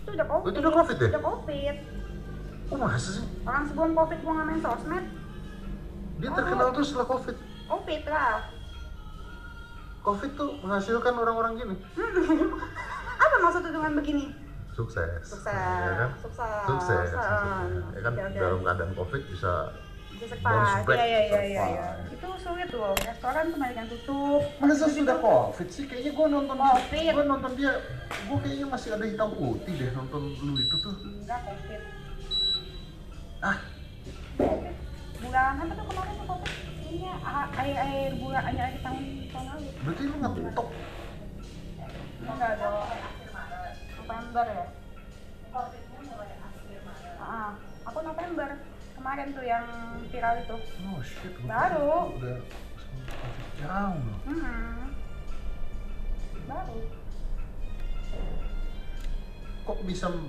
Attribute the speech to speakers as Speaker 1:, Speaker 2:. Speaker 1: itu udah covid
Speaker 2: Itu udah covid ya?
Speaker 1: udah covid
Speaker 2: Kok Oh, masa sih?
Speaker 1: orang sebelum covid gua nggak main sosmed
Speaker 2: Dia
Speaker 1: Oh.
Speaker 2: terkenal tuh setelah covid.
Speaker 1: covid lah
Speaker 2: Covid tuh menghasilkan orang-orang gini.
Speaker 1: Hmm. apa maksud lu dengan begini
Speaker 2: Sukses.
Speaker 1: sukses
Speaker 2: Ya kan?
Speaker 1: sukses
Speaker 2: Sukses.
Speaker 1: sukses.
Speaker 2: maksudnya. Ya kan
Speaker 1: Oke, oke.
Speaker 2: dalam keadaan covid bisa
Speaker 1: Bisa
Speaker 2: bounce
Speaker 1: sepak
Speaker 2: back,
Speaker 1: iya iya iya iya iya.
Speaker 2: survive.
Speaker 1: itu sulit loh restoran kemarin tutup
Speaker 2: Masa sudah covid sih? Kayaknya gue nonton
Speaker 1: Covid.
Speaker 2: Gue nonton dia, gue kayaknya masih ada hitam putih deh nonton lu itu tuh.
Speaker 1: enggak covid
Speaker 2: Ah,
Speaker 1: covid bulan apa tuh kemarin tuh covid iya a- air air bulan air air tahun tahun lalu
Speaker 2: berarti lu ngetok.
Speaker 1: enggak dong November ya Ah, aku November kemarin tuh yang viral itu
Speaker 2: Oh shit. gua
Speaker 1: Baru.
Speaker 2: kira Udah sama Covid jauh loh.
Speaker 1: hmm. baru
Speaker 2: Kok bisa